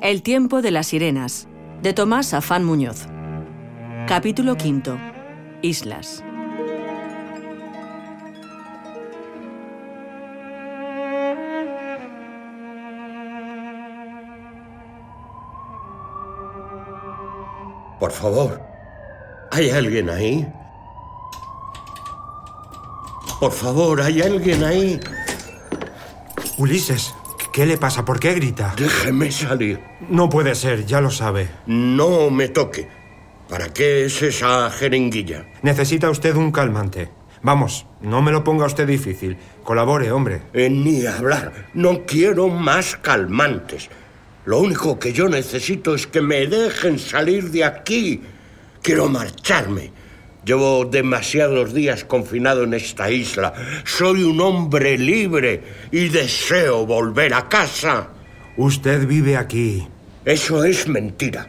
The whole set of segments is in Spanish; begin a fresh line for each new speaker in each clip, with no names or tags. El tiempo de las sirenas, de Tomás Afán Muñoz. Capítulo quinto. Islas.
Por favor, ¿hay alguien ahí? Por favor, ¿hay alguien ahí?
Ulises, ¿qué le pasa? ¿Por qué grita?
Déjeme salir.
No puede ser, ya lo sabe.
No me toque. ¿Para qué es esa jeringuilla?
Necesita usted un calmante. Vamos, no me lo ponga usted difícil. Colabore, hombre.
Eh, ni hablar. No quiero más calmantes. Lo único que yo necesito es que me dejen salir de aquí. Quiero marcharme. Llevo demasiados días confinado en esta isla. Soy un hombre libre y deseo volver a casa.
Usted vive aquí.
Eso es mentira.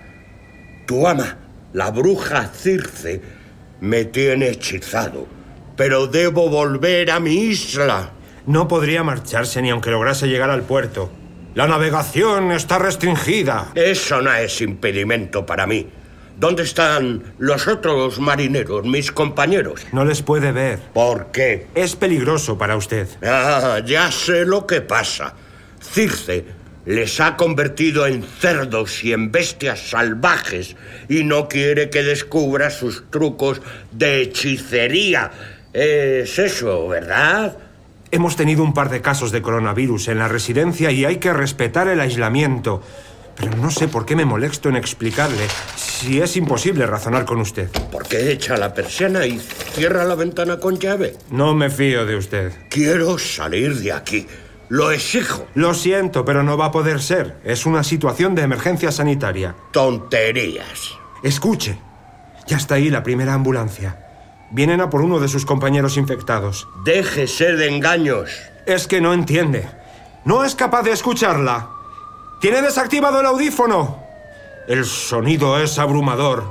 Tu ama, la bruja Circe, me tiene hechizado. Pero debo volver a mi isla.
No podría marcharse ni aunque lograse llegar al puerto. La navegación está restringida.
Eso no es impedimento para mí. ¿Dónde están los otros marineros, mis compañeros?
No les puede ver.
¿Por qué?
Es peligroso para usted.
Ah, ya sé lo que pasa. Circe les ha convertido en cerdos y en bestias salvajes y no quiere que descubra sus trucos de hechicería. Es eso, ¿verdad?
Hemos tenido un par de casos de coronavirus en la residencia y hay que respetar el aislamiento. Pero no sé por qué me molesto en explicarle si es imposible razonar con usted.
¿Por qué echa la persiana y cierra la ventana con llave?
No me fío de usted.
Quiero salir de aquí. Lo exijo.
Lo siento, pero no va a poder ser. Es una situación de emergencia sanitaria.
Tonterías.
Escuche. Ya está ahí la primera ambulancia. Vienen a por uno de sus compañeros infectados.
Déjese de engaños.
Es que no entiende. No es capaz de escucharla. Tiene desactivado el audífono. El sonido es abrumador.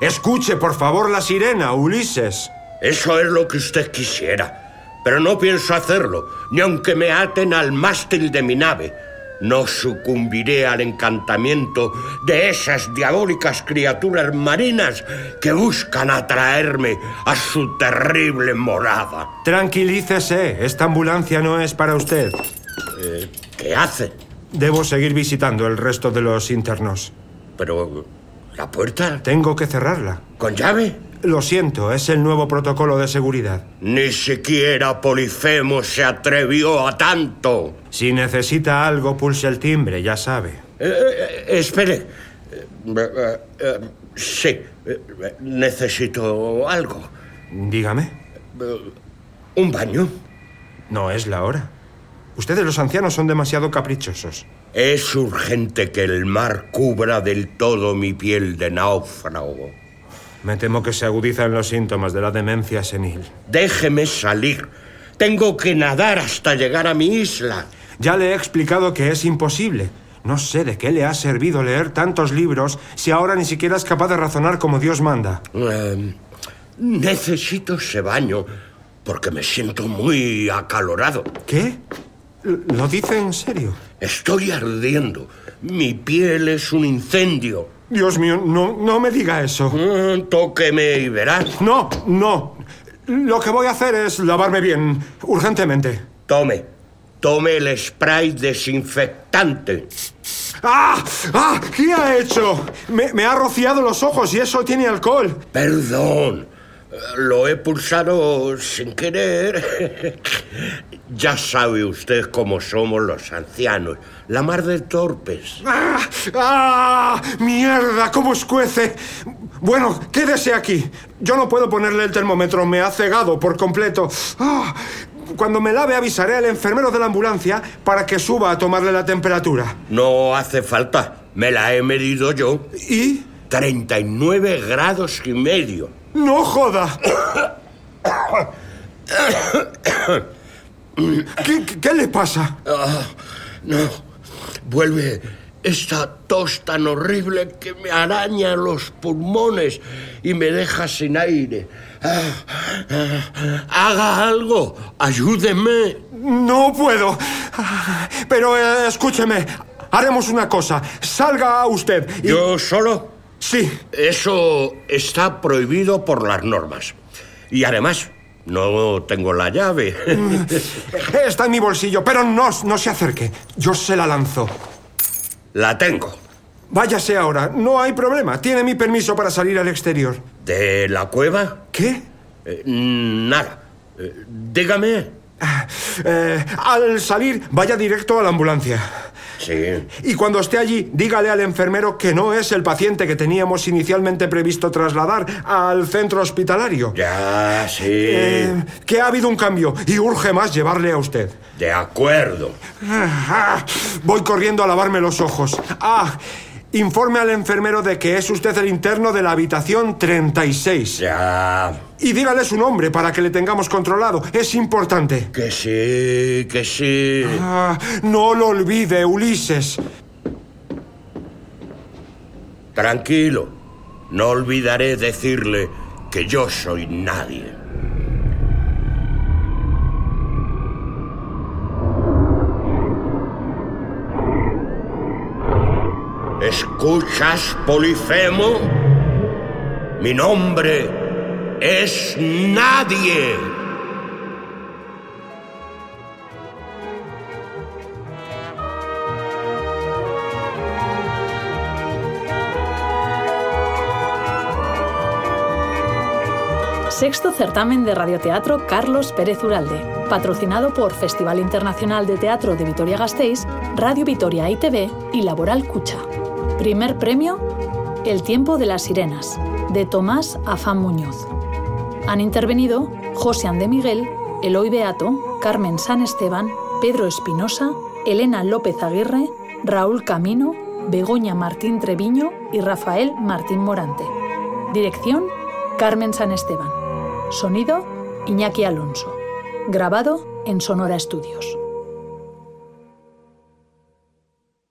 Escuche, por favor, la sirena, Ulises.
Eso es lo que usted quisiera. Pero no pienso hacerlo, ni aunque me aten al mástil de mi nave. No sucumbiré al encantamiento de esas diabólicas criaturas marinas que buscan atraerme a su terrible morada.
Tranquilícese, esta ambulancia no es para usted.
Eh, ¿Qué hace?
Debo seguir visitando el resto de los internos.
Pero... ¿La puerta?
Tengo que cerrarla.
¿Con llave?
Lo siento, es el nuevo protocolo de seguridad.
Ni siquiera Polifemo se atrevió a tanto.
Si necesita algo, pulse el timbre, ya sabe.
Eh, eh, espere. Eh, sí, eh, necesito algo.
Dígame.
¿Un baño?
No es la hora. Ustedes los ancianos son demasiado caprichosos.
Es urgente que el mar cubra del todo mi piel de náufrago.
Me temo que se agudizan los síntomas de la demencia senil.
Déjeme salir. Tengo que nadar hasta llegar a mi isla.
Ya le he explicado que es imposible. No sé de qué le ha servido leer tantos libros si ahora ni siquiera es capaz de razonar como Dios manda.
Eh, necesito ese baño porque me siento muy acalorado.
¿Qué? ¿Lo dice en serio?
Estoy ardiendo. Mi piel es un incendio.
Dios mío, no, no me diga eso.
Mm, tóqueme y verás.
No, no. Lo que voy a hacer es lavarme bien, urgentemente.
Tome. Tome el spray desinfectante.
¡Ah! ¡Ah! ¿Qué ha hecho? Me, me ha rociado los ojos y eso tiene alcohol.
Perdón. Lo he pulsado sin querer. ya sabe usted cómo somos los ancianos. La mar de torpes.
¡Ah! ¡Ah! ¡Mierda! ¿Cómo escuece? Bueno, quédese aquí. Yo no puedo ponerle el termómetro. Me ha cegado por completo. ¡Ah! Cuando me lave avisaré al enfermero de la ambulancia para que suba a tomarle la temperatura.
No hace falta. Me la he medido yo.
¿Y?
39 grados y medio.
¡No joda! ¿Qué, qué, qué le pasa?
Ah, no, vuelve esta tos tan horrible que me araña los pulmones y me deja sin aire. Ah, ah, haga algo, ayúdeme.
No puedo. Pero eh, escúcheme, Haremos una cosa. Salga usted. y-
¿Yo solo?
Sí.
Eso está prohibido por las normas. Y además, no tengo la llave.
Está en mi bolsillo, pero no, no se acerque. Yo se la lanzo.
la tengo.
Váyase ahora. No hay problema. Tiene mi permiso para salir al exterior.
¿De la cueva?
¿Qué?
Eh, nada. Eh, dígame.
Ah, eh, al salir, vaya directo a la ambulancia.
Sí.
Y cuando esté allí, dígale al enfermero que no es el paciente que teníamos inicialmente previsto trasladar al centro hospitalario.
Ya, sí.
Eh, que ha habido un cambio y urge más llevarle a usted.
De acuerdo.
Ah, Voy corriendo a lavarme los ojos. Ah, informe al enfermero de que es usted el interno de la habitación 36.
Ya.
Y dígale su nombre para que le tengamos controlado. Es importante.
Que sí, que sí.
Ah, no lo olvide, Ulises.
Tranquilo. No olvidaré decirle que yo soy nadie. ¿Escuchas, Polifemo? Mi nombre es nadie.
Sexto certamen de radioteatro Carlos Pérez Uralde, patrocinado por Festival Internacional de Teatro de Vitoria-Gasteiz, Radio Vitoria ITV y Laboral Cucha. Primer premio, El tiempo de las sirenas, de Tomás Afán Muñoz. Han intervenido José de Miguel, Eloy Beato, Carmen San Esteban, Pedro Espinosa, Elena López Aguirre, Raúl Camino, Begoña Martín Treviño y Rafael Martín Morante. Dirección, Carmen San Esteban. Sonido, Iñaki Alonso. Grabado en Sonora Estudios.